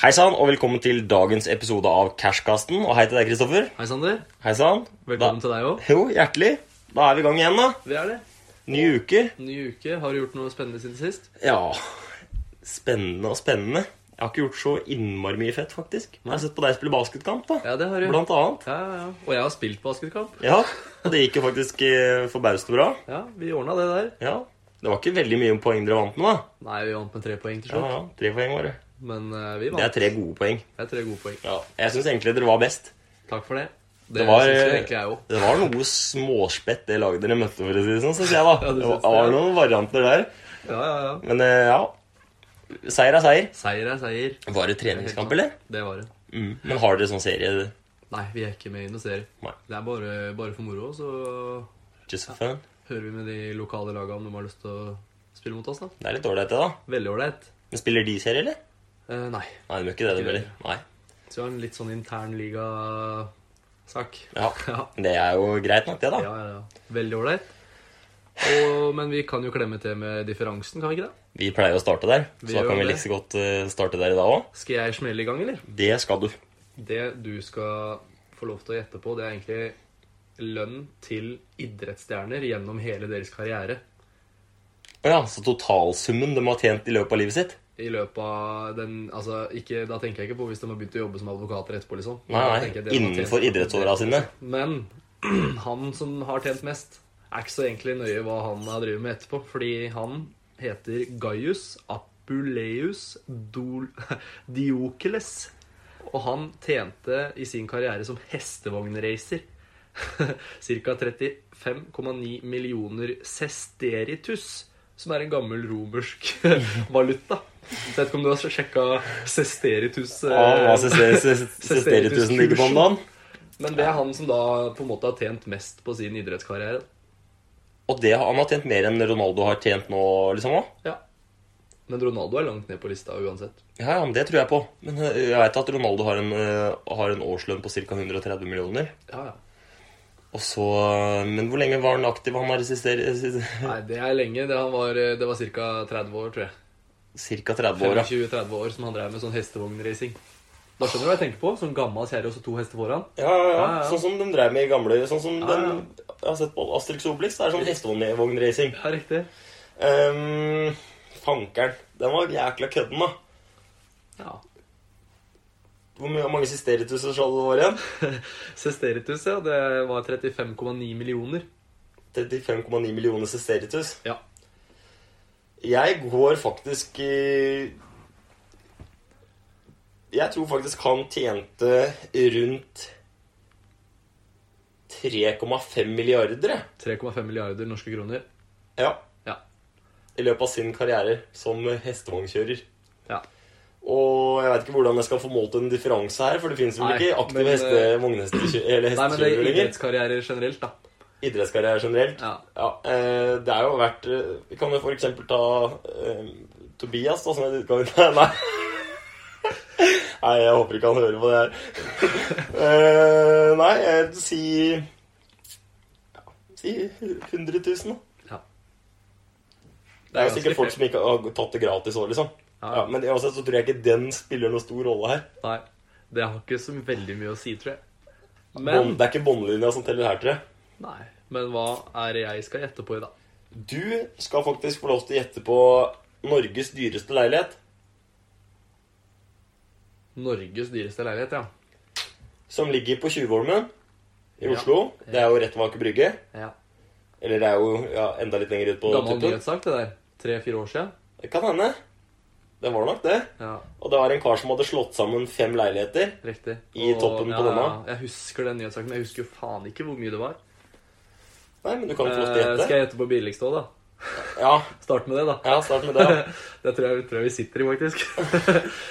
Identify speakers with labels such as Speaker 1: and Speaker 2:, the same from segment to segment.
Speaker 1: Hei sann, og velkommen til dagens episode av Cashkasten. Og hei til deg, Kristoffer.
Speaker 2: Hei, Sander.
Speaker 1: Hei sann.
Speaker 2: Velkommen til deg òg.
Speaker 1: Jo, hjertelig. Da er vi i gang igjen, da.
Speaker 2: Det er det.
Speaker 1: Ny uke.
Speaker 2: Ny uke. Har du gjort noe spennende siden sist?
Speaker 1: Ja Spennende og spennende. Jeg har ikke gjort så innmari mye fett, faktisk. Men jeg har sett på deg spille basketkamp, da.
Speaker 2: Ja, det har du.
Speaker 1: Blant annet.
Speaker 2: Ja, ja, ja. Og jeg har spilt basketkamp.
Speaker 1: Ja. Og det gikk jo faktisk eh, forbausende bra.
Speaker 2: Ja, vi ordna det der.
Speaker 1: Ja. Det var ikke veldig mye poeng dere vant nå, da.
Speaker 2: Nei, vi vant med tre poeng til
Speaker 1: Ja,
Speaker 2: slutt.
Speaker 1: ja. Tre poeng var det.
Speaker 2: Men eh, vi
Speaker 1: Det er
Speaker 2: vant.
Speaker 1: tre gode poeng.
Speaker 2: Det er tre gode poeng.
Speaker 1: Ja. Jeg syns egentlig dere var best.
Speaker 2: Takk for det. Det,
Speaker 1: Det var, eh,
Speaker 2: syns jo egentlig jeg òg.
Speaker 1: det var noe småspett det laget dere møtte, for å si det sånn, synes jeg. da.
Speaker 2: Ja, det
Speaker 1: det, var,
Speaker 2: synes jeg.
Speaker 1: var noen varianter der.
Speaker 2: Ja, ja, ja.
Speaker 1: Men eh, ja, seier er seier.
Speaker 2: Seier er seier.
Speaker 1: Var det treningskamp, eller?
Speaker 2: Det var det.
Speaker 1: Mm. Men har dere sånn serie?
Speaker 2: Nei, vi er ikke med i noen serie.
Speaker 1: Nei.
Speaker 2: Det er bare, bare for moro, så
Speaker 1: Just for fun.
Speaker 2: hører vi med de lokale laga om de har lyst til å spille mot oss, da.
Speaker 1: Det er litt ålreit, det, da.
Speaker 2: Veldig ålreit.
Speaker 1: Men Spiller de serie, eller?
Speaker 2: Eh, nei.
Speaker 1: Nei, de gjør ikke det. de
Speaker 2: Ikke
Speaker 1: heller. Nei.
Speaker 2: Så vi har en litt sånn intern liga-sak.
Speaker 1: Ja.
Speaker 2: ja.
Speaker 1: Det er jo greit nok, det, da.
Speaker 2: Ja, ja, ja. Veldig ålreit. Og- Men vi kan jo klemme til med differansen, kan vi ikke det?
Speaker 1: Vi pleier å starte der,
Speaker 2: Vi
Speaker 1: så da
Speaker 2: gjør
Speaker 1: kan vi
Speaker 2: det.
Speaker 1: like så godt eh, starte der i dag òg.
Speaker 2: Skal jeg smelle i gang, eller?
Speaker 1: Det skal du.
Speaker 2: Det du skal få lov til å gjette på, det er egentlig lønn til idrettsstjerner gjennom hele deres karriere.
Speaker 1: Å ja, så totalsummen de har tjent i løpet av livet sitt?
Speaker 2: I løpet av den Altså, ikke, da tenker jeg ikke på hvis de har begynt å jobbe som advokater etterpå, liksom.
Speaker 1: Nei,
Speaker 2: Da
Speaker 1: nei.
Speaker 2: tenker jeg det de har tjent-
Speaker 1: Innenfor idrettsåra sine.
Speaker 2: Men han som har tjent mest, er ikke så egentlig nøye hva han har drevet med etterpå. Fordi han heter Gaius Apuleius Dol Diokeles. Og han tjente i sin karriere som hestevognracer ca. 35,9 millioner sesteritus. Som er en gammel romersk valuta. Så jeg vet ikke om du har sjekka sesteritus eh,
Speaker 1: Ah, hva Sesteritusen ligger på om dagen?
Speaker 2: men det er han som da på en måte har tjent mest på sin idrettskarriere.
Speaker 1: Og det, har- han har tjent mer enn Ronaldo har tjent nå, liksom òg?
Speaker 2: Ja. Men Ronaldo er langt ned på lista uansett.
Speaker 1: Ja, ja, men det tror jeg på. Men eh, jeg veit at Ronaldo har en, eh, har en årslønn på ca. 130 millioner.
Speaker 2: Ja, ja.
Speaker 1: Og så eh, Men hvor lenge var han aktiv? Han har eh, resistert
Speaker 2: Nei, det er lenge. Det, han var, eh, det var ca. 30 år, tror jeg.
Speaker 1: ca. 30 år. ja.
Speaker 2: 25-30 år som han drev med sånn hestevognracing. Da skjønner du hva jeg tenker på? Sånn gammel kjerre og så to hester foran.
Speaker 1: Ja, ja, ja.
Speaker 2: Ja, ja.
Speaker 1: Sånn som de drev med i gamle Sånn som
Speaker 2: Ja, ja.
Speaker 1: den Jeg har sett på Asterix og Obelix. Det er sånn hestevognracing.
Speaker 2: Ja, riktig.
Speaker 1: Um, fankeren. Den var jækla kødden, da.
Speaker 2: Ja.
Speaker 1: Hvor mye- hvor mange sisterituser sa du det var igjen?
Speaker 2: Sesteritus, ja. Det var 35,9 millioner.
Speaker 1: 35,9 millioner sesteritus.
Speaker 2: Ja.
Speaker 1: Jeg går faktisk i Jeg tror faktisk han tjente rundt 3,5 milliarder jeg.
Speaker 2: 3,5 milliarder norske kroner.
Speaker 1: ja,
Speaker 2: Ja.
Speaker 1: i løpet av sin karriere som hestevognkjører.
Speaker 2: ja.
Speaker 1: Og jeg veit ikke hvordan jeg skal få målt en differanse her, for det fins vel
Speaker 2: Nei,
Speaker 1: ikke aktive
Speaker 2: men, eh,
Speaker 1: heste, vognheste- eller
Speaker 2: Nei, men det er
Speaker 1: hestekjørere lenger.
Speaker 2: idrettskarrierer generelt, da.
Speaker 1: Idrettskarriere generelt.
Speaker 2: Ja.
Speaker 1: eh, det er jo verdt eh, Vi kan jo for eksempel ta eh, Tobias, da, som er utgangen Nei. Nei, jeg håper ikke han hører på det her. Eh, nei, eh, si ja, Si 100 000, da.
Speaker 2: Ja.
Speaker 1: Det er jo
Speaker 2: ganske
Speaker 1: sikkert folk
Speaker 2: fair.
Speaker 1: som ikke har tatt det gratis òg, liksom.
Speaker 2: Ja.
Speaker 1: Ja, men uansett så tror jeg ikke den spiller noen stor rolle her.
Speaker 2: Nei, det har ikke så veldig mye å si, tror jeg. Men,
Speaker 1: Bånd- Det er ikke båndlinja som teller her, tror jeg.
Speaker 2: nei, men hva er det jeg skal gjette på i dag?
Speaker 1: Du skal faktisk få lov til å gjette på Norges dyreste leilighet.
Speaker 2: Norges dyreste leilighet, ja.
Speaker 1: som ligger på Tjuvholmen i
Speaker 2: Ja.
Speaker 1: Oslo. Det er jo rett ved Aker Brygge.
Speaker 2: ja.
Speaker 1: Eller det er jo ja, enda litt lenger ut på
Speaker 2: Gammel
Speaker 1: tuppen.
Speaker 2: nyhetssak, det der. Tre-fire år siden.
Speaker 1: Det kan hende. Det var nok det.
Speaker 2: Ja,
Speaker 1: Og det var en kar som hadde slått sammen fem leiligheter.
Speaker 2: riktig.
Speaker 1: I toppen på
Speaker 2: ja,
Speaker 1: denne?
Speaker 2: ja, Jeg husker den nyhetssaken, men jeg husker jo faen ikke hvor mye det var.
Speaker 1: Nei, men du kan få lov til å
Speaker 2: Eh, skal
Speaker 1: gjette.
Speaker 2: jeg gjette på billigst òg, da?
Speaker 1: Ja,
Speaker 2: Start med det, da.
Speaker 1: ja, start med det. Ja,
Speaker 2: Det tror jeg, tror jeg vi sitter i, faktisk.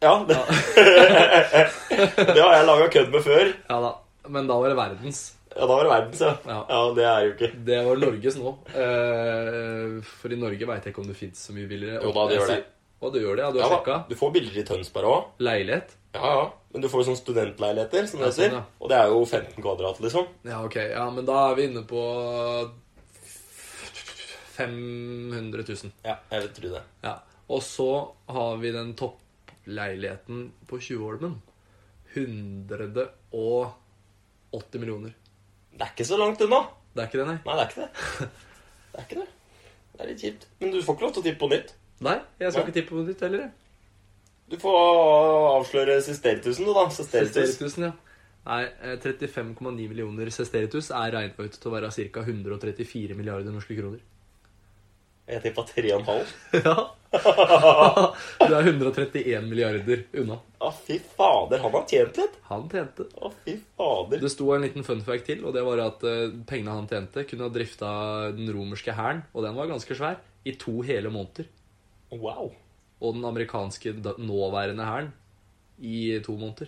Speaker 1: ja det. det har jeg laga kødd med før.
Speaker 2: ja da. Men da var det verdens.
Speaker 1: Ja, da var det verdens, ja.
Speaker 2: Ja.
Speaker 1: Ja, det er jo ikke
Speaker 2: Det var Norges nå. Eh, for i Norge veit jeg ikke om det fins så mye billigere.
Speaker 1: Jo da, det gjør det.
Speaker 2: Og det gjør det, ja. Du
Speaker 1: ja,
Speaker 2: har
Speaker 1: da,
Speaker 2: sjekka?
Speaker 1: Du får bilder i Tønsberg òg.
Speaker 2: Leilighet?
Speaker 1: Ja, ja. Men du får jo sånne studentleiligheter, som det
Speaker 2: Ja, sånn,
Speaker 1: heter.
Speaker 2: ja.
Speaker 1: Og det er jo 15 kvadrat, liksom.
Speaker 2: Ja, ok. Ja, men da er vi inne på 500 000.
Speaker 1: Ja, jeg vil tro det.
Speaker 2: Ja. Og så har vi den topp leiligheten på Tjuvholmen 180 millioner.
Speaker 1: Det er ikke så langt unna.
Speaker 2: Det er ikke det, nei?
Speaker 1: Nei, det er ikke det. Det er ikke det. Det er litt kjipt. Men du får ikke lov til å tippe på nytt.
Speaker 2: Nei, jeg skal
Speaker 1: Nei.
Speaker 2: ikke tippe på nytt heller. jeg.
Speaker 1: Du får avsløre Sisteritusen, du, da. Sisteritus.
Speaker 2: Sesteritusen, ja. Nei, eh, 35,9 millioner sesteritus er regna ut til å være ca. 134 milliarder norske kroner.
Speaker 1: Jeg tippa 3,5.
Speaker 2: Ja. Du er 131 milliarder unna.
Speaker 1: Å, fy fader. Han har tjent litt.
Speaker 2: Han tjente.
Speaker 1: Å, fy fader.
Speaker 2: Det sto en liten fun fact til, og det var at eh, pengene han tjente, kunne ha drifta den romerske hæren, og den var ganske svær, i to hele måneder.
Speaker 1: Wow.
Speaker 2: Og den amerikanske da- nåværende hæren i to måneder.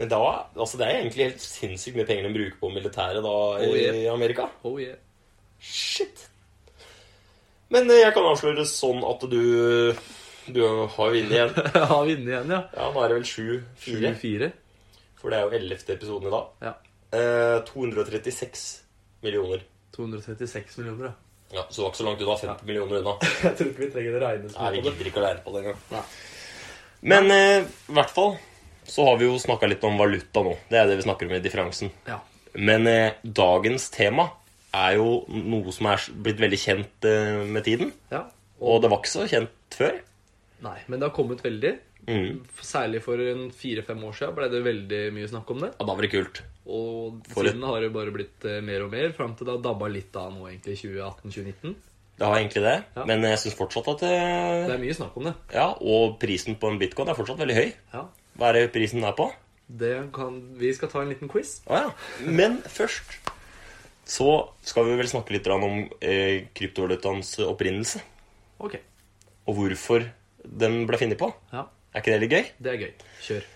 Speaker 1: Men da, altså det er egentlig helt sinnssykt mye penger de bruker på militæret da i
Speaker 2: Oh, yeah.
Speaker 1: i Amerika.
Speaker 2: Oh yeah.
Speaker 1: Shit. Men eh, jeg kan avsløre sånn at du Du har vunnet igjen.
Speaker 2: Har vi inne igjen, ja.
Speaker 1: Ja, nå er det vel 7-4,
Speaker 2: 24.
Speaker 1: for det er jo 11. episoden i dag.
Speaker 2: Ja.
Speaker 1: Eh, 236 millioner.
Speaker 2: 236 millioner, ja.
Speaker 1: Ja, Så du var ikke så langt unna. 50 millioner unna.
Speaker 2: Jeg tror ikke vi trenger å regne
Speaker 1: Nei, vi gidder ikke å lære på det engang.
Speaker 2: Nei.
Speaker 1: Men eh, i hvert fall så har vi jo snakka litt om valuta nå. Det er det vi snakker om i differansen.
Speaker 2: Ja.
Speaker 1: Men eh, dagens tema er jo noe som er blitt veldig kjent eh, med tiden.
Speaker 2: ja.
Speaker 1: Og det var ikke så kjent før.
Speaker 2: Nei, men det har kommet veldig.
Speaker 1: Mm.
Speaker 2: Særlig for en fire-fem år siden ble det veldig mye snakk om det.
Speaker 1: Ja, da var det kult.
Speaker 2: Og
Speaker 1: For
Speaker 2: siden har det bare blitt eh, mer og mer, fram til det har dabba litt av nå, egentlig, 2018-2019.
Speaker 1: Det har egentlig det.
Speaker 2: Ja.
Speaker 1: Men eh, jeg syns fortsatt at
Speaker 2: Det
Speaker 1: eh,
Speaker 2: er mye snakk om det.
Speaker 1: Ja, og prisen på en bitcoin er fortsatt veldig høy.
Speaker 2: Ja.
Speaker 1: Hva er det prisen er på?
Speaker 2: Det kan, vi skal ta en liten quiz.
Speaker 1: Å ja. Men først så skal vi vel snakke litt grann om eh, kryptovalutaens opprinnelse.
Speaker 2: Ok.
Speaker 1: Og hvorfor den ble funnet på.
Speaker 2: Ja,
Speaker 1: Er ikke det litt gøy?
Speaker 2: det er gøy. Kjør.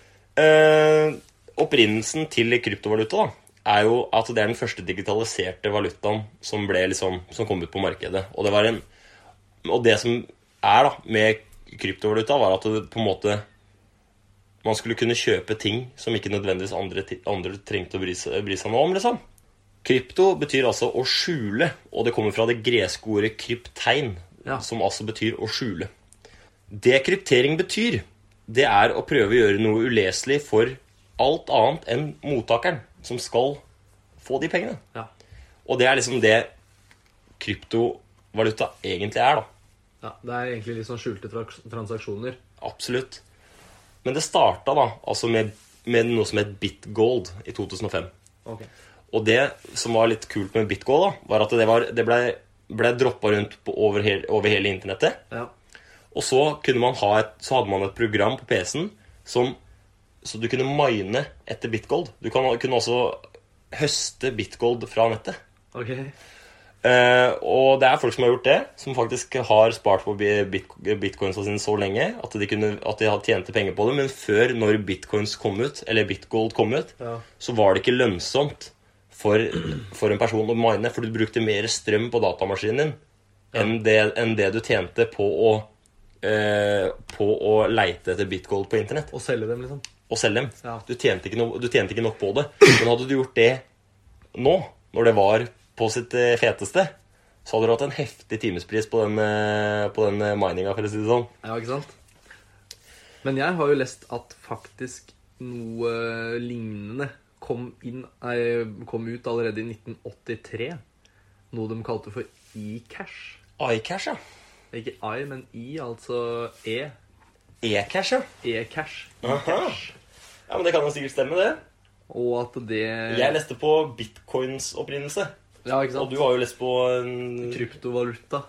Speaker 1: Eh, opprinnelsen til kryptovaluta da, er jo at det er den første digitaliserte valutaen som, ble liksom, som kom ut på markedet. Og det, var en, og det som er da, med kryptovaluta, var at det, på en måte man skulle kunne kjøpe ting som ikke nødvendigvis andre, ti- andre trengte å bry seg, bry seg noe om. liksom. Krypto betyr altså å skjule, og det kommer fra det greske ordet kryptein,
Speaker 2: Ja.
Speaker 1: som altså betyr å skjule. Det kryptering betyr, det er å prøve å gjøre noe uleselig for alt annet enn mottakeren som skal få de pengene.
Speaker 2: Ja.
Speaker 1: Og det er liksom det kryptovaluta egentlig er, da.
Speaker 2: ja. Det er egentlig litt sånn skjulte traks- transaksjoner.
Speaker 1: Absolutt. Men det starta da, altså med, med noe som het bitgold i 2005.
Speaker 2: Ok.
Speaker 1: Og det som var litt kult med bitgold, da, var at det, var, det ble, ble droppa rundt på, over, hel, over hele internettet.
Speaker 2: Ja.
Speaker 1: Og så, kunne man ha et, så hadde man et program på PC-en som Så du kunne mine etter bitgold. Du kan, kunne også høste bitgold fra nettet.
Speaker 2: Ok.
Speaker 1: Eh, og det er folk som har gjort det, som faktisk har spart på bi- bit, bitcoinsa sine så lenge at de, kunne, at de hadde tjente penger på det. Men før, når bitcoins kom ut, eller bitgold kom ut,
Speaker 2: Ja.
Speaker 1: så var det ikke lønnsomt for, for en person å mine, for du brukte mer strøm på datamaskinen din enn, det, enn det du tjente på å, eh, på å leite etter bitgold på internett
Speaker 2: Og selge dem, liksom.
Speaker 1: og selge dem.
Speaker 2: Ja.
Speaker 1: Du, tjente ikke no, du tjente ikke nok på det. Men hadde du gjort det nå, når det var på sitt eh, feteste, så hadde du hatt en heftig timespris på den, eh, på den eh, mininga, for å si det sånn.
Speaker 2: Ja, ikke sant? Men jeg har jo lest at faktisk noe lignende kom, inn, nei, kom ut allerede i 1983. Noe de kalte for e-cash.
Speaker 1: iCash, ja.
Speaker 2: Ikke I, men I, altså E.
Speaker 1: E-cash, ja.
Speaker 2: E-cash.
Speaker 1: Aha. Ja, men Det kan jo sikkert stemme, det.
Speaker 2: Og at det
Speaker 1: Jeg leste på bitcoins opprinnelse.
Speaker 2: Ja,
Speaker 1: Og
Speaker 2: ikke sant?
Speaker 1: du har jo lest på en...
Speaker 2: Kryptovaluta.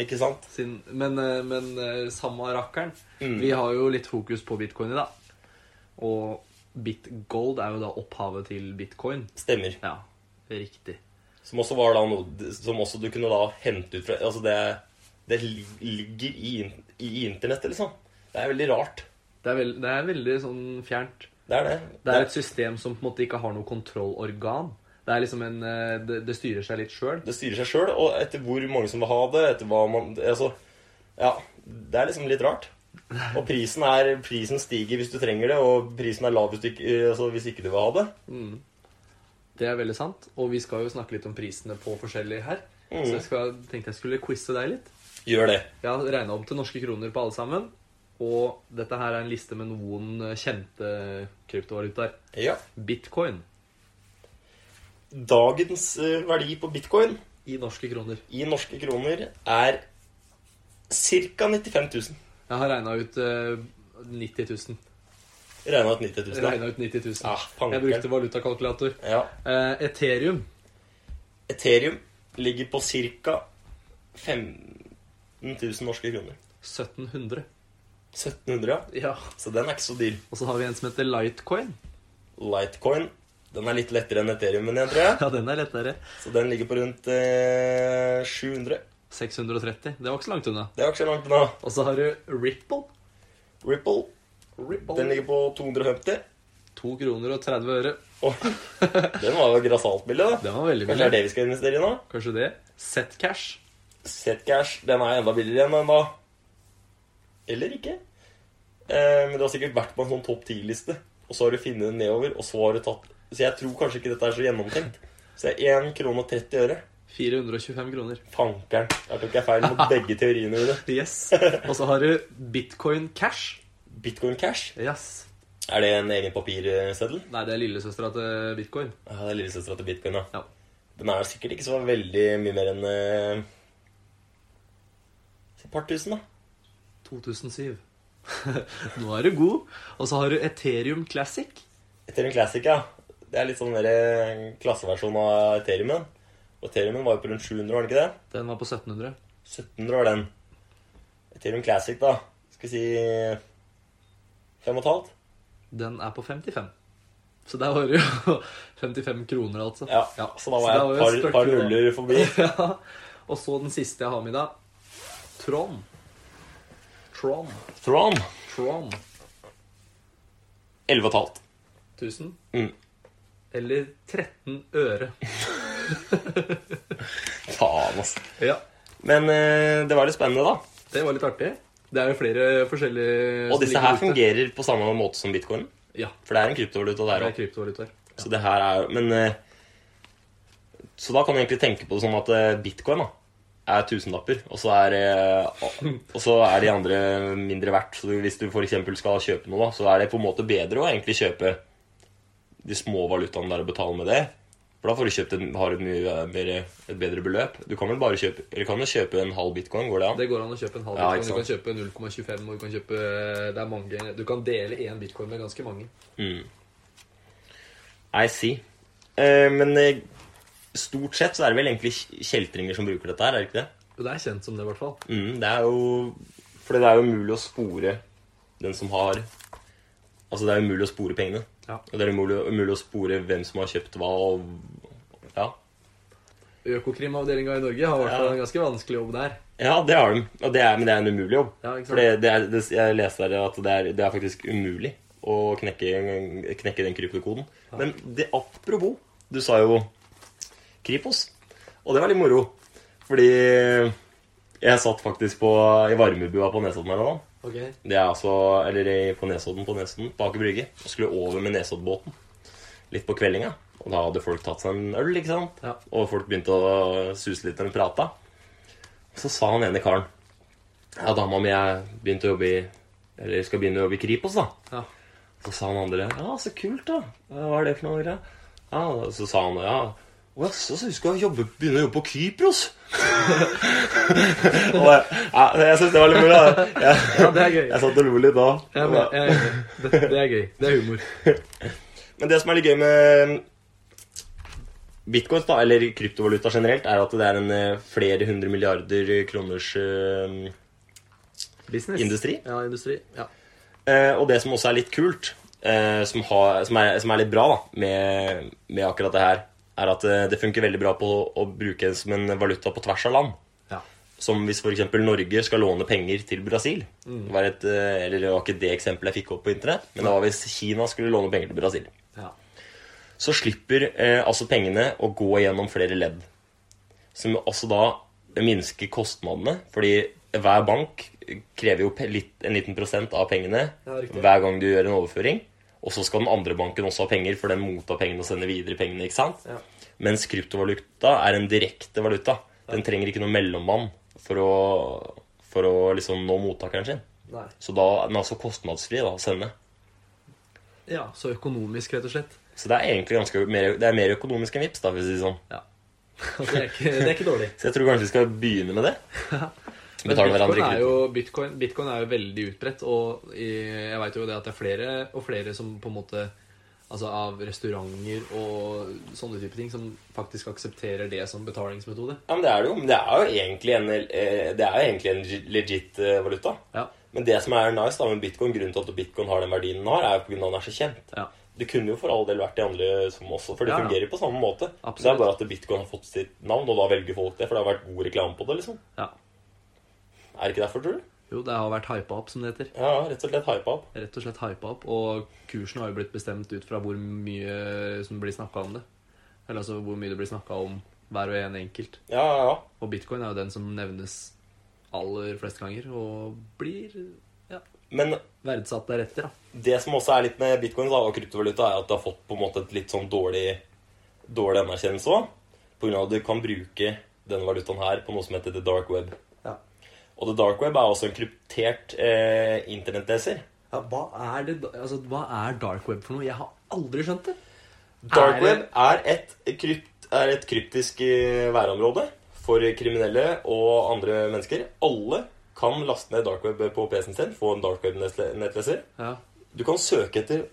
Speaker 1: Ikke sant?
Speaker 2: Sin, men, eh, men eh, samme rakkeren. Vi har jo litt fokus på bitcoin i dag. Og bitgold er jo da opphavet til bitcoin.
Speaker 1: Stemmer.
Speaker 2: Ja, riktig.
Speaker 1: Som også var da noe Som også du kunne da hente ut fra Altså det, det lig- ligger i, in- i internettet, liksom. Det er veldig rart.
Speaker 2: Det er, veld, det er veldig sånn fjernt.
Speaker 1: Det er det.
Speaker 2: Det er et system som på en måte ikke har noe kontrollorgan. Det er liksom en eh, Det, det styrer seg litt sjøl.
Speaker 1: det styrer seg sjøl, og etter hvor mange som vil ha det, etter hva man Altså, ja. Det er liksom litt rart. Og prisen, er, prisen stiger hvis du trenger det, og prisen er lav hvis du ikke, altså hvis ikke du vil ha det.
Speaker 2: Det er veldig sant. Og vi skal jo snakke litt om prisene på forskjellig her. Så jeg skal, tenkte jeg skulle quize deg litt.
Speaker 1: Gjør det.
Speaker 2: Jeg har regna om til norske kroner på alle sammen. Og dette her er en liste med noen eh, kjente kryptovalutaer.
Speaker 1: Ja.
Speaker 2: Bitcoin
Speaker 1: Dagens eh, verdi på bitcoin
Speaker 2: i norske kroner.
Speaker 1: i norske kroner er ca. 95 000.
Speaker 2: Jeg har regna ut eh, 90 000.
Speaker 1: Regna ut 90 000.
Speaker 2: Regnet ut 90 000.
Speaker 1: Ja,
Speaker 2: Jeg
Speaker 1: panker.
Speaker 2: brukte valutakalkulator.
Speaker 1: Ja.
Speaker 2: Eh, Ethereum
Speaker 1: Ethereum ligger på ca. 15 000 norske kroner.
Speaker 2: 1700.
Speaker 1: 1700, ja.
Speaker 2: Ja.
Speaker 1: Så den er ikke så dyr.
Speaker 2: Og så har vi en som heter Litecoin.
Speaker 1: Litecoin den er litt lettere enn Ethereum, men jeg tror jeg.
Speaker 2: Ja, den er lettere.
Speaker 1: Så den ligger på rundt eh, 700.
Speaker 2: 630. Det var ikke så langt unna.
Speaker 1: Det er jo ikke så langt unna.
Speaker 2: Og så har du Ripple.
Speaker 1: Ripple den
Speaker 2: Ripple.
Speaker 1: ligger på 250.
Speaker 2: To kroner og 30 øre.
Speaker 1: Og den var jo grassat billig, da.
Speaker 2: Den var veldig
Speaker 1: Kanskje det er
Speaker 2: billig.
Speaker 1: det vi skal investere i nå?
Speaker 2: Kanskje det. Setcash.
Speaker 1: Setcash, den er enda billigere enn den da. Eller ikke. Eh, men du har sikkert vært på en sånn topp 10-liste, og så har du funnet den nedover, og så har du tatt Så jeg tror kanskje ikke dette er så gjennomtenkt. Så det er 1 krone og 30 øre.
Speaker 2: 425 kroner.
Speaker 1: Fankeren. Jeg tok jeg feil mot begge teoriene mine.
Speaker 2: Yes. Og så har du Bitcoin Cash.
Speaker 1: Bitcoin Cash,
Speaker 2: Yes.
Speaker 1: er det en egen papirseddel?
Speaker 2: Nei, det er lillesøstera til bitcoin.
Speaker 1: Ja, det er lillesøstera til bitcoin, ja.
Speaker 2: Ja.
Speaker 1: Den er sikkert ikke så veldig mye mer enn eh, Et par tusen, da.
Speaker 2: 2007. Nå er du god. Og så har du Ethereum Classic.
Speaker 1: Ethereum Classic, ja. Det er litt sånn mer eh, klasseversjon av Ethereumen. Og Ethereumen var jo på rundt 700, var den ikke det?
Speaker 2: Den var på 1700.
Speaker 1: 1700 var den. Ethereum Classic, da. Skal vi si fem og et halvt?
Speaker 2: Den er på 55. Så der var det jo 55 kroner, altså.
Speaker 1: Ja. Så da var
Speaker 2: det
Speaker 1: jeg et
Speaker 2: jo et
Speaker 1: par, par
Speaker 2: stykke, da.
Speaker 1: nuller forbi.
Speaker 2: Ja. Og så den siste jeg har med i dag. Tron. Tron.
Speaker 1: Tron.
Speaker 2: Tron.
Speaker 1: 11 og et halvt.
Speaker 2: 1000.
Speaker 1: Mm.
Speaker 2: Eller 13 øre.
Speaker 1: Faen, altså.
Speaker 2: Ja.
Speaker 1: Men eh, det var litt spennende, da.
Speaker 2: Det var litt artig. Det er jo flere forskjellige
Speaker 1: Og disse her fungerer på samme måte som bitcoin.
Speaker 2: Ja.
Speaker 1: For det er en kryptovaluta
Speaker 2: Det
Speaker 1: der
Speaker 2: er
Speaker 1: òg.
Speaker 2: kryptovalutaer.
Speaker 1: Så det her er Men eh, Så da kan du egentlig tenke på det som at eh, bitcoin da er tusenlapper, og så er, eh, og så er de andre mindre verdt. Så hvis du f.eks. skal kjøpe noe, da, så er det på en måte bedre å egentlig kjøpe de små valutaene der og betale med det. For da får du kjøpt en, har du et, mye eh, mer, et bedre beløp. Du kan vel bare kjøpe Eller kan du kjøpe en halv bitcoin? Går det an?
Speaker 2: Det går an å kjøpe en halv
Speaker 1: Ja,
Speaker 2: bitcoin.
Speaker 1: ikke
Speaker 2: du kan kjøpe 0,25, og du kan kjøpe Det er mange Du kan dele én bitcoin med ganske mange.
Speaker 1: I see. Eh, men eh, stort sett så er det vel egentlig kj- kjeltringer som bruker dette her, er det ikke det?
Speaker 2: Og det er kjent som det, i hvert fall.
Speaker 1: Mm, det er jo Fordi det er jo umulig å spore den som har Altså, det er umulig å spore pengene.
Speaker 2: Ja.
Speaker 1: Og det er umulig, umulig å spore hvem som har kjøpt hva, og Ja,
Speaker 2: Økokrimavdelinga i Norge har i hvert
Speaker 1: Ja.
Speaker 2: fall en ganske vanskelig jobb der.
Speaker 1: ja det har de. Og det er, men det er en umulig jobb.
Speaker 2: Ja, ikke sant?
Speaker 1: For det, det er, det, jeg leste der at det er, det er faktisk umulig å knekke, knekke den kryptokoden. Men det apropos Du sa jo Kripos. Og det var litt moro. Fordi jeg satt faktisk på, i varmebua på Nesodden her nå.
Speaker 2: Ok.
Speaker 1: Det er altså, eller i- på Nesodden, på Nesodden, på Aker Brygge. Og skulle over med Nesoddbåten litt på kveldinga. Og da hadde folk tatt seg en øl, ikke sant?
Speaker 2: Ja.
Speaker 1: Og folk begynte å suse litt når de prata. Og så sa han ene karen Ja, dama mi jeg begynte eh, å jobbe i Eller skal begynne å jobbe i Kripos, da.
Speaker 2: Ja.
Speaker 1: Så sa han andre Ja, så kult, da. Ja, Hva er det for noe? greier?» Ja, og så sa han ja. Å jaså, så du skal jobbe, begynne å jobbe på Kypros? og jeg, ja, jeg syns det var litt moro. da. Jeg-
Speaker 2: ja, det er gøy.
Speaker 1: jeg satt og lo litt da.
Speaker 2: Jeg er med. Jeg er enig. Det, det er gøy. Det er humor.
Speaker 1: Men det som er litt gøy med um, bitcoins, da, eller kryptovaluta generelt, er at det er en eh, flere hundre milliarder kroners eh,
Speaker 2: Business.
Speaker 1: Industri?
Speaker 2: Ja, industri. Ja.
Speaker 1: eh, Og det som også er litt kult, eh, som, har, som, er, som er litt bra da, med, med akkurat det her, er at eh, det funker veldig bra på å bruke det som en valuta på tvers av land.
Speaker 2: ja.
Speaker 1: Som hvis f.eks. Norge skal låne penger til Brasil. Det var et, eh, eller det var ikke det eksempelet jeg fikk opp på internett, men det var hvis Kina skulle låne penger til Brasil.
Speaker 2: ja.
Speaker 1: så slipper eh, altså pengene å gå gjennom flere ledd. Som også da minsker kostnadene, fordi hver bank krever jo pe- litt, en liten prosent av pengene
Speaker 2: Ja, riktig.
Speaker 1: hver gang du gjør en overføring. Og så skal den andre banken også ha penger, for den mottar pengene og sender videre pengene. ikke sant?
Speaker 2: Ja.
Speaker 1: Mens kryptovaluta er en direkte valuta. Den trenger ikke noe mellommann for å, for å liksom nå mottakeren sin.
Speaker 2: Nei.
Speaker 1: Så da er den altså kostnadsfri da, å sende.
Speaker 2: Ja, så økonomisk, rett og slett.
Speaker 1: Så det er egentlig ganske mer, det er mer økonomisk enn Vipps, da, for å si det sånn.
Speaker 2: Det er ikke, det er ikke dårlig.
Speaker 1: Så jeg tror kanskje vi skal begynne med det.
Speaker 2: Men
Speaker 1: Betale
Speaker 2: bitcoin
Speaker 1: hverandre
Speaker 2: er,
Speaker 1: ikke
Speaker 2: jo, bitcoin, bitcoin er jo veldig utbredt, og i- jeg veit jo det at det er flere og flere som på en måte Altså av restauranter og sånne type ting som faktisk aksepterer det som betalingsmetode.
Speaker 1: Ja, men det er det jo. Men det er jo egentlig en, eh, det er jo egentlig en legit eh, valuta.
Speaker 2: Ja.
Speaker 1: Men det som er nice da med bitcoin, grunnen til at bitcoin har den verdien den har, er jo på grunn av at den er så kjent.
Speaker 2: Ja.
Speaker 1: Det kunne jo for all del vært de andre som også, for det
Speaker 2: Ja, ja.
Speaker 1: fungerer på samme måte.
Speaker 2: Absolutt.
Speaker 1: Det er bare at bitcoin har fått sitt navn, og da velger folk det, for det har vært god reklame på det, liksom.
Speaker 2: ja.
Speaker 1: Er det ikke derfor, tror du?
Speaker 2: Jo, det har vært hypa opp, som det heter.
Speaker 1: Ja, rett og slett hypa opp.
Speaker 2: Rett og slett hypa opp. Og kursen har jo blitt bestemt ut fra hvor mye som blir snakka om det. Eller altså hvor mye det blir snakka om hver og en enkelt.
Speaker 1: Ja, ja, ja.
Speaker 2: Og bitcoin er jo den som nevnes aller flest ganger, og blir ja,
Speaker 1: Men
Speaker 2: verdsatt deretter, da.
Speaker 1: det som også er litt med bitcoins da, og kryptovaluta, er at det har fått på en måte et litt sånn dårlig, dårlig anerkjennelse òg. På grunn av at du kan bruke denne valutaen her på noe som heter the dark web.
Speaker 2: Ja.
Speaker 1: Og the dark web er også en kryptert eh, internettleser.
Speaker 2: hva, er det, altså, hva er dark web for noe? Jeg har aldri skjønt det.
Speaker 1: Dark
Speaker 2: Er det-
Speaker 1: web er et, krypt, er et kryptisk eh, værområde for kriminelle og andre mennesker. Alle kan laste ned dark web på PC-en sin, få en dark web-nettleser.
Speaker 2: Ja.
Speaker 1: Du kan søke etter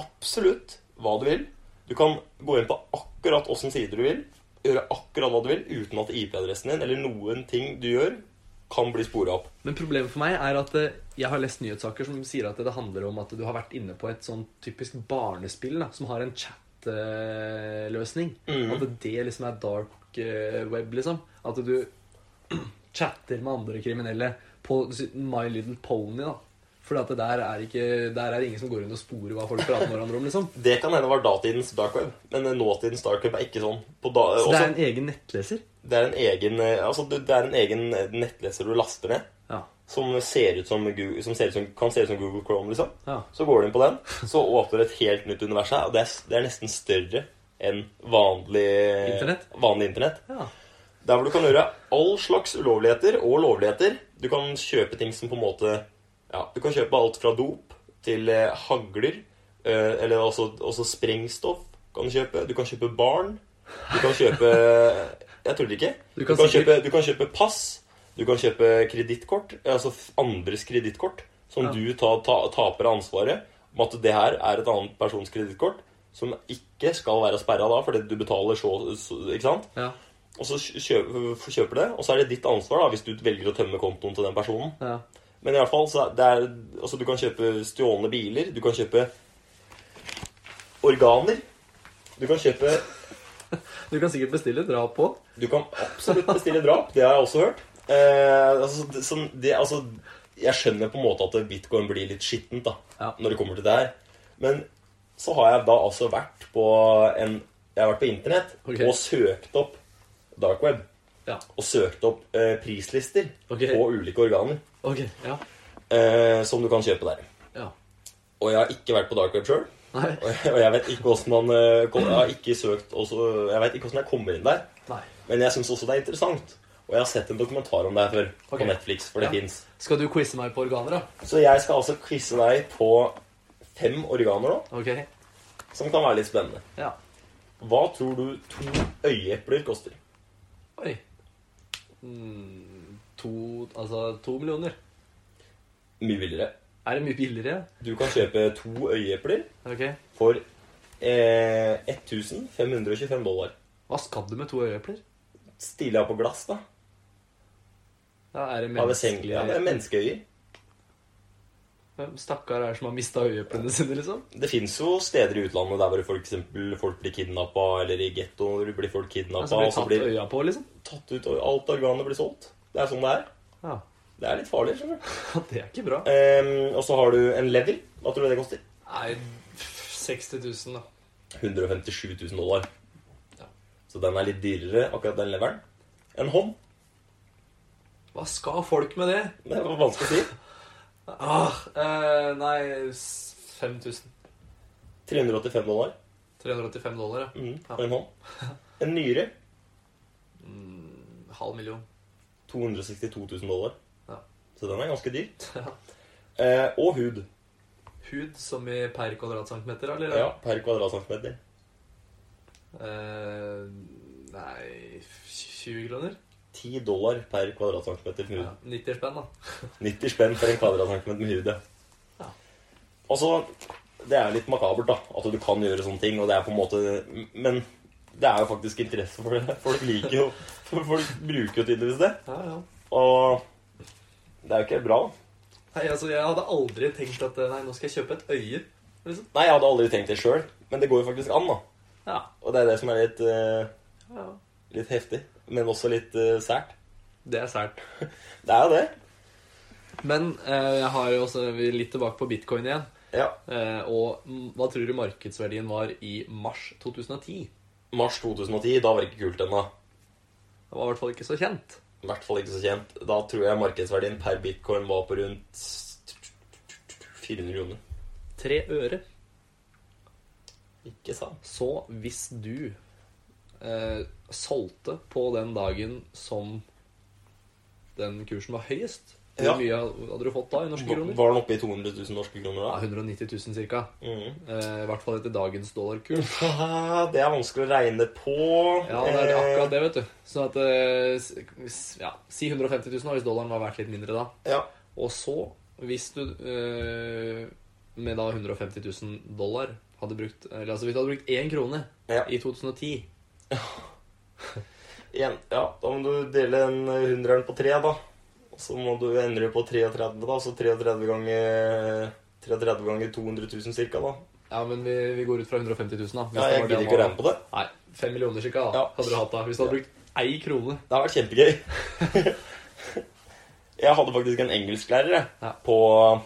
Speaker 1: absolutt hva du vil. Du kan gå inn på akkurat åssen sider du vil, gjøre akkurat hva du vil, uten at IP-adressen din eller noen ting du gjør, kan bli spora opp.
Speaker 2: Men problemet for meg er at eh, jeg har lest nyhetssaker som sier at det handler om at du har vært inne på et sånn typisk barnespill da, som har en chat-løsning.
Speaker 1: Mhm.
Speaker 2: At det liksom er dark eh, web, liksom. At du chatter med andre kriminelle på My Little Pony, da. Fordi at det der er, ikke, der er det ingen som går rundt og sporer hva folk prater med hverandre om, liksom.
Speaker 1: Det kan hende var datidens dark web, men nåtidens dark web er ikke sånn. På da,
Speaker 2: Så det
Speaker 1: også,
Speaker 2: er en egen nettleser.
Speaker 1: det, er en egen, eh, altså, det det er en egen eh, nettleser du laster ned,
Speaker 2: Ja.
Speaker 1: som, ser ut som, Google, som, ser ut som kan se ut som Google Chrome, liksom.
Speaker 2: ja.
Speaker 1: Så går du inn på den, så åpner et helt nytt univers her, og det er, det er nesten større enn vanlig
Speaker 2: Internett?
Speaker 1: Vanlig internett.
Speaker 2: ja.
Speaker 1: Der hvor du kan gjøre all slags ulovligheter og lovligheter. Du kan kjøpe ting som på en måte Ja, du kan kjøpe alt fra dop til eh, hagler. Eh, eller også, også sprengstoff kan du kjøpe. Du kan kjøpe barn. Du kan kjøpe Jeg tuller ikke.
Speaker 2: Du
Speaker 1: Du
Speaker 2: kan
Speaker 1: kan, kjøpe,
Speaker 2: sikkert-
Speaker 1: du kan kjøpe pass. Du kan kjøpe kredittkort. eh, Altså f- andres kredittkort. Som
Speaker 2: Ja.
Speaker 1: du ta, ta, taper ansvaret om at det her er et annet persons kredittkort. Som ikke skal være sperra da, fordi du betaler så, så Ikke sant?
Speaker 2: ja.
Speaker 1: Og så kjøper, kjøper det, og så er det ditt ansvar da, hvis du velger å tømme kontoen til den personen.
Speaker 2: ja.
Speaker 1: Men i alle fall, så er det er, altså, du kan kjøpe stjålne biler, du kan kjøpe organer, du kan kjøpe,
Speaker 2: Du kan sikkert bestille, dra på.
Speaker 1: du kan absolutt bestille drap, det har jeg også hørt. Eh, altså, det, sånn, det, altså, jeg skjønner på en måte at bitcoin blir litt skittent da,
Speaker 2: Ja.
Speaker 1: når det kommer til det her. Men så har jeg da altså vært på en, jeg har vært på internett
Speaker 2: Ok.
Speaker 1: og søkt opp dark web
Speaker 2: Ja.
Speaker 1: og søkte opp eh, prislister
Speaker 2: Ok.
Speaker 1: på ulike organer
Speaker 2: Ok. Ja.
Speaker 1: eh, som du kan kjøpe der.
Speaker 2: ja.
Speaker 1: Og jeg har ikke vært på dark web sjøl.
Speaker 2: Nei.
Speaker 1: Og, jeg- og jeg vet ikke hvordan man eh, kom, Jeg har ikke søkt også, Jeg vet ikke hvordan jeg kommer inn der.
Speaker 2: Nei.
Speaker 1: Men jeg syns også det er interessant. Og jeg har sett en dokumentar om det her før
Speaker 2: Ok.
Speaker 1: på Netflix, for det
Speaker 2: Ja.
Speaker 1: finnes
Speaker 2: Skal du quize meg på organer, da?
Speaker 1: Så jeg skal altså quize deg på fem organer nå,
Speaker 2: Ok.
Speaker 1: som kan være litt spennende.
Speaker 2: Ja.
Speaker 1: Hva tror du to øyeepler koster?
Speaker 2: Oi. Mm, to Altså to millioner.
Speaker 1: Mye billigere.
Speaker 2: Er det mye billigere?
Speaker 1: Du kan kjøpe to øyeepler
Speaker 2: Ok.
Speaker 1: for eh, 1525 dollar.
Speaker 2: Hva skal du med to øyeepler?
Speaker 1: Stilig av på glass, da.
Speaker 2: Ja, er det
Speaker 1: Av et seng- ja, det er menneskeøyer.
Speaker 2: Hvem Stakkar er det som har mista øyeeplene sine, liksom?
Speaker 1: Det fins jo steder i utlandet der hvor for eksempel folk blir kidnappa, eller i gettoer blir folk kidnappa,
Speaker 2: Altså blir
Speaker 1: og så
Speaker 2: tatt
Speaker 1: blir
Speaker 2: øya på, liksom?
Speaker 1: tatt ut, og alt organet blir solgt. Det er sånn det er.
Speaker 2: Ja.
Speaker 1: Det er litt farlig. skjønner du.
Speaker 2: Det er ikke bra.
Speaker 1: Ehm, og så har du en lever. Hva tror du det koster?
Speaker 2: Nei, 60 000, da.
Speaker 1: 157 000 dollar.
Speaker 2: Ja.
Speaker 1: Så den er litt dyrere, akkurat den leveren. En hånd.
Speaker 2: Hva skal folk med det?
Speaker 1: Det var vanskelig å si.
Speaker 2: Ah, eh, nei s- 5000.
Speaker 1: 385 dollar.
Speaker 2: 385 dollar, ja.
Speaker 1: Mm,
Speaker 2: Ja.
Speaker 1: for En hånd. En nyre.
Speaker 2: Halv million.
Speaker 1: 262 000 dollar.
Speaker 2: Ja.
Speaker 1: Så den er ganske dyr.
Speaker 2: Ja.
Speaker 1: Eh, og hud.
Speaker 2: Hud som i per kvadratcentimeter, eller?
Speaker 1: Ja, per kvadratcentimeter.
Speaker 2: Eh, nei 20 kroner?
Speaker 1: 10 dollar per kvadratcentimeter med hud.
Speaker 2: Ja, 90 spenn, da.
Speaker 1: 90 spenn for en kvadratcentimeter med hud, ja.
Speaker 2: Ja.
Speaker 1: Altså, det er litt makabert, da. At du kan gjøre sånne ting. Og det er på en måte Men det er jo faktisk interesse for det. Folk liker jo Folk bruker jo tydeligvis det.
Speaker 2: Ja, ja.
Speaker 1: Og det er jo ikke bra.
Speaker 2: Nei, altså, jeg hadde aldri tenkt at eh, Nei, nå skal jeg kjøpe et øye. Liksom.
Speaker 1: Nei, jeg hadde aldri tenkt det sjøl, men det går jo faktisk an, da.
Speaker 2: Ja.
Speaker 1: Og det er det som er litt, eh,
Speaker 2: ja.
Speaker 1: litt heftig. Men også litt eh, sært.
Speaker 2: Det er sært.
Speaker 1: Det er jo det.
Speaker 2: Men eh, jeg har jo også vi er litt tilbake på bitcoin igjen.
Speaker 1: Ja.
Speaker 2: Eh, og mm, hva tror du markedsverdien var i mars 2010?
Speaker 1: Mars 2010, da var det ikke kult ennå.
Speaker 2: Det var i hvert fall ikke så kjent.
Speaker 1: I hvert fall ikke så kjent. Da tror jeg markedsverdien per bitcoin var på rundt 400 kroner.
Speaker 2: Tre øre.
Speaker 1: Ikke sant?
Speaker 2: Så hvis du eh, solgte på den dagen som den kursen var høyest, hvor
Speaker 1: Ja.
Speaker 2: mye hadde du fått da i norske
Speaker 1: Var
Speaker 2: kroner?
Speaker 1: den oppe i 200 000 norske kroner
Speaker 2: Ja,
Speaker 1: da?
Speaker 2: 190 000 ca.
Speaker 1: Mhm.
Speaker 2: Eh, I hvert fall etter dagens dollarkurs.
Speaker 1: Haha, Det er vanskelig å regne på.
Speaker 2: Ja, det er akkurat det, vet du. Sånn at eh, s- hvis- ja, Si 150 000 da, hvis dollaren var verdt litt mindre da.
Speaker 1: Eh, Ja.
Speaker 2: Og så, hvis du eh, med da 150 000 dollar hadde brukt Eller altså, hvis du hadde brukt én krone
Speaker 1: Ja.
Speaker 2: i 2010
Speaker 1: Igjen, ja, da må du dele den hundreren på tre, da. Og Så må du endre på 33, da. Så 33 ganger 33 ganger 200 000 cirka, da.
Speaker 2: Ja, men vi, vi går ut fra 150 000, da. Hvis
Speaker 1: Ja, jeg
Speaker 2: det var det
Speaker 1: gidder ikke
Speaker 2: han
Speaker 1: å
Speaker 2: var-
Speaker 1: regne på det.
Speaker 2: Nei, fem millioner cirka da,
Speaker 1: Ja.
Speaker 2: hadde du hatt da. Hvis du hadde brukt ei krone.
Speaker 1: Det har vært kjempegøy. jeg hadde faktisk en engelsklærer jeg,
Speaker 2: Ja.
Speaker 1: på,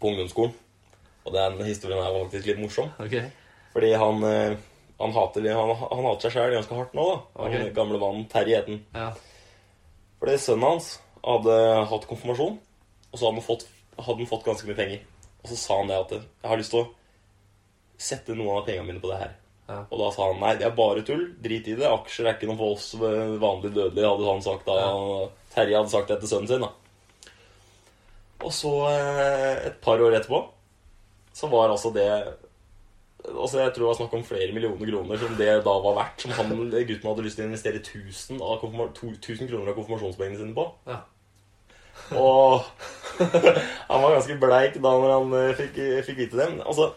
Speaker 1: på ungdomsskolen. Og den historien her var faktisk litt morsom.
Speaker 2: Ok.
Speaker 1: Fordi han, eh, han, hater, han, han hater seg sjøl ganske hardt nå, da. Han
Speaker 2: Ok.
Speaker 1: gamle mannen Terje het han.
Speaker 2: Ja.
Speaker 1: Fordi sønnen hans hadde hatt konfirmasjon, og så hadde han fått, hadde han fått ganske mye penger. Og så sa han det at jeg har lyst til å sette noen av pengene mine på det her.
Speaker 2: Ja.
Speaker 1: Og da sa han nei, det er bare tull, drit i det, aksjer er ikke noe for oss eh, vanlig dødelige, hadde han sagt da. Terje hadde sagt det til sønnen sin, da. Og så, eh, et par år etterpå, så var altså det Altså Jeg tror det var snakk om flere millioner kroner som det da var verdt. Som han, gutten hadde lyst til å investere 1000, av konfirma- to- 1000 kroner av konfirmasjonspengene sine på.
Speaker 2: ja.
Speaker 1: Og han var ganske bleik da når han eh, fikk, fikk vite det. Men, altså,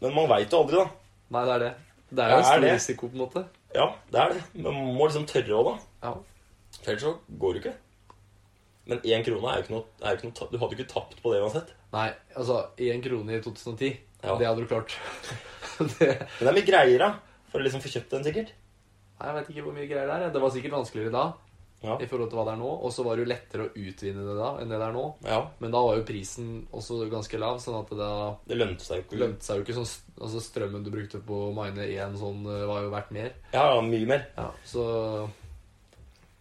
Speaker 1: men man veit jo aldri, da.
Speaker 2: Nei, det er det. Det er jo
Speaker 1: Det
Speaker 2: en
Speaker 1: er
Speaker 2: stor
Speaker 1: det.
Speaker 2: risiko, på en måte.
Speaker 1: Ja, det er det. Men man må liksom tørre òg, da.
Speaker 2: Ja.
Speaker 1: For ellers så går det ikke. Men én krone er jo ikke noe, er jo ikke noe ta- Du hadde jo ikke tapt på det uansett.
Speaker 2: Nei, altså, én krone i 2010,
Speaker 1: Ja.
Speaker 2: det hadde du klart. det,
Speaker 1: Men det er mye greier, da. For å liksom få kjøpt den, sikkert.
Speaker 2: nei, jeg vet ikke hvor mye greier det er. jeg. Det var sikkert vanskeligere da
Speaker 1: Ja.
Speaker 2: i forhold til hva det er nå. Og så var det jo lettere å utvinne det da enn det det er nå.
Speaker 1: ja.
Speaker 2: Men da var jo prisen også ganske lav, sånn at det da
Speaker 1: Det lønte seg jo ikke.
Speaker 2: lønte seg jo ikke sånn Altså, strømmen du brukte på å mine én sånn, eh, var jo verdt mer.
Speaker 1: Ja, ja, mye mer.
Speaker 2: Ja, så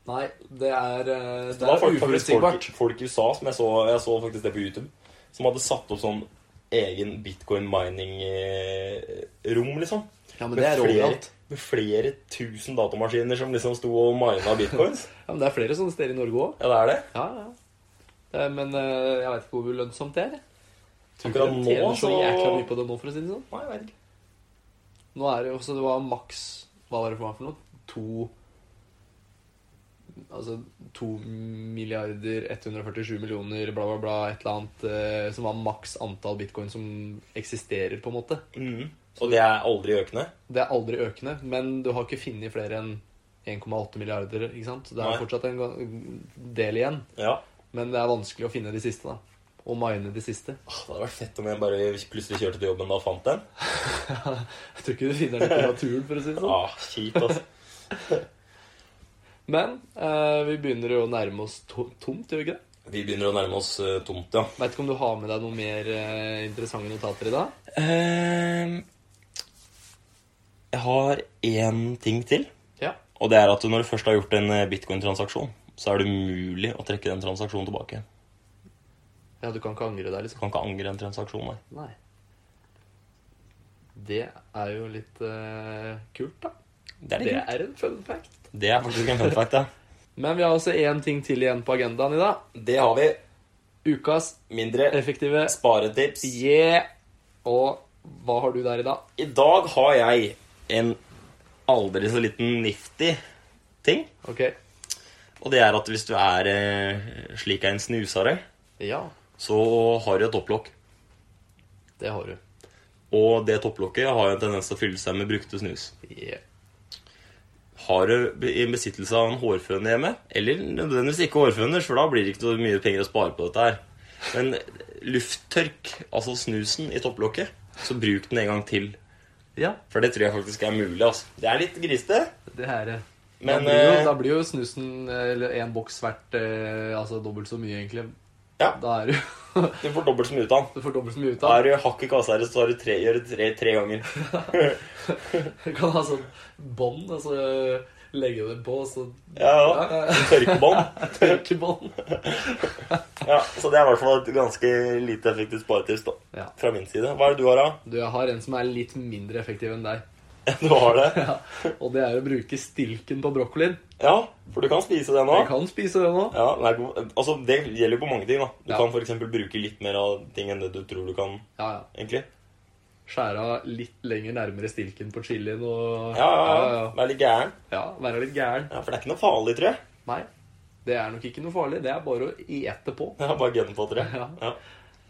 Speaker 2: Nei, det er eh,
Speaker 1: Det
Speaker 2: Det
Speaker 1: var
Speaker 2: er
Speaker 1: folk, faktisk folk,
Speaker 2: uforutsigbart.
Speaker 1: folk i USA som jeg så, jeg så faktisk det på YouTube, som hadde satt opp sånn egen bitcoin-mining-rom, liksom.
Speaker 2: Ja, men
Speaker 1: Med
Speaker 2: det er
Speaker 1: flere-
Speaker 2: overalt.
Speaker 1: Med flere tusen datamaskiner som liksom sto og mina bitcoins.
Speaker 2: Ja, men det er flere sånne steder i Norge òg.
Speaker 1: Ja, det er det.
Speaker 2: Ja, ja. Det er- Men eh, jeg veit ikke hvor lønnsomt det er. Tror ikke
Speaker 1: Akkurat
Speaker 2: de
Speaker 1: nå,
Speaker 2: tjener så
Speaker 1: så-
Speaker 2: jækla mye på det nå, for å si det sånn.
Speaker 1: Nei, jeg vet ikke.
Speaker 2: Nå er det jo også Det var maks Hva var det for noe? To Altså 2 milliarder 147 millioner bla, bla, bla, et eller annet eh, som var maks antall bitcoin som eksisterer, på en måte.
Speaker 1: Mhm. Og det er aldri økende.
Speaker 2: Det er aldri økende, men du har ikke funnet flere enn 1,8 milliarder. ikke sant? Det er
Speaker 1: Nei.
Speaker 2: fortsatt en ga- del igjen,
Speaker 1: Ja.
Speaker 2: men det er vanskelig å finne de siste. da. Og mine de siste.
Speaker 1: Åh, Ah, Det hadde vært fett om jeg bare plutselig kjørte til jobben da og fant den.
Speaker 2: Jeg tror ikke du finner den på naturen. for å si det sånn.
Speaker 1: Ah, kjipt, altså.
Speaker 2: Men eh, vi begynner jo å nærme oss to tomt, gjør vi ikke det?
Speaker 1: Vi begynner å nærme oss eh, tomt, ja.
Speaker 2: Veit ikke om du har med deg noe mer eh, interessante notater i dag?
Speaker 1: Ehm, jeg har én ting til.
Speaker 2: Ja.
Speaker 1: Og det er at når du først har gjort en eh, bitcoin-transaksjon, så er det umulig å trekke den transaksjonen tilbake.
Speaker 2: ja, du kan ikke angre deg,
Speaker 1: Du
Speaker 2: liksom?
Speaker 1: kan ikke angre en transaksjon, nei.
Speaker 2: Nei. Det er jo litt eh, kult, da.
Speaker 1: Det er,
Speaker 2: Det
Speaker 1: litt kult.
Speaker 2: er en fun fact.
Speaker 1: det er faktisk en fun fact, ja.
Speaker 2: Men vi har også én ting til igjen på agendaen i dag.
Speaker 1: Det har vi.
Speaker 2: Ukas
Speaker 1: Mindre
Speaker 2: effektive
Speaker 1: sparetips.
Speaker 2: Yeah! Og hva har du der i dag?
Speaker 1: I dag har jeg en aldri så liten nifty ting.
Speaker 2: Ok.
Speaker 1: Og det er at hvis du er eh, slik en snusare,
Speaker 2: Ja,
Speaker 1: så har du et topplokk.
Speaker 2: det har du.
Speaker 1: Og det topplokket har en tendens til å fylle seg med brukte snus.
Speaker 2: Yeah.
Speaker 1: Har du be- i besittelse av en hårføner hjemme, eller nødvendigvis ikke hårføner, for da blir det ikke så mye penger å spare på dette her. Men lufttørk, altså snusen i topplokket, så bruk den en gang til.
Speaker 2: Ja,
Speaker 1: For det tror jeg faktisk er mulig. altså. Det er litt grisete,
Speaker 2: det er det.
Speaker 1: men
Speaker 2: da, blir jo,
Speaker 1: eh,
Speaker 2: da blir jo snusen eller en boks verdt eh, altså dobbelt så mye, egentlig.
Speaker 1: Ja.
Speaker 2: Da er du
Speaker 1: du får dobbelt så mye ut av den.
Speaker 2: Du får dobbelt så mye ut
Speaker 1: Da
Speaker 2: av
Speaker 1: er du hakk i kassa her, så har du tre, gjør du tre, tre ganger.
Speaker 2: Du kan ha sånn bånd, og så eh, legge det på, og så
Speaker 1: Ja, ja.
Speaker 2: Ja, ja,
Speaker 1: Tørkebånd.
Speaker 2: Tørkebånd.
Speaker 1: Ja, så det er i hvert fall et ganske lite effektivt sparetips da,
Speaker 2: Ja.
Speaker 1: fra min side. Hva er det du har, da?
Speaker 2: Du, jeg har en som er litt mindre effektiv enn deg.
Speaker 1: Du har det?
Speaker 2: Ja. Og det er å bruke stilken på brokkolien.
Speaker 1: Ja, for du kan spise det nå.
Speaker 2: Jeg kan spise det nå.
Speaker 1: Ja, nei, altså Det gjelder jo på mange ting. da Du
Speaker 2: Ja.
Speaker 1: kan for eksempel bruke litt mer av ting enn det du tror du kan.
Speaker 2: Ja, ja.
Speaker 1: egentlig
Speaker 2: Skjære av litt lenger nærmere stilken på chilien og
Speaker 1: Ja, ja,
Speaker 2: ja,
Speaker 1: ja,
Speaker 2: ja.
Speaker 1: Vær litt gæren.
Speaker 2: Ja, Være litt gæren.
Speaker 1: Ja, For det er ikke noe farlig, tror jeg.
Speaker 2: Nei, det er nok ikke noe farlig. Det er bare å ete på.
Speaker 1: Jeg har bare gunnet på, tror jeg.
Speaker 2: Ja.
Speaker 1: Ja.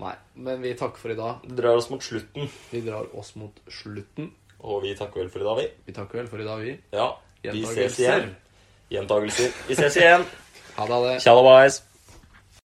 Speaker 2: Nei, men vi takker for i dag.
Speaker 1: Det drar oss mot slutten,
Speaker 2: Vi drar oss mot slutten.
Speaker 1: og vi takker vel for i dag, vi.
Speaker 2: Vi takker vel for i dag, vi.
Speaker 1: Ja, vi ses
Speaker 2: Gjentagelser.
Speaker 1: igjen. Gjentagelser. Vi ses igjen.
Speaker 2: Ha det, ha det.
Speaker 1: Tjalabais.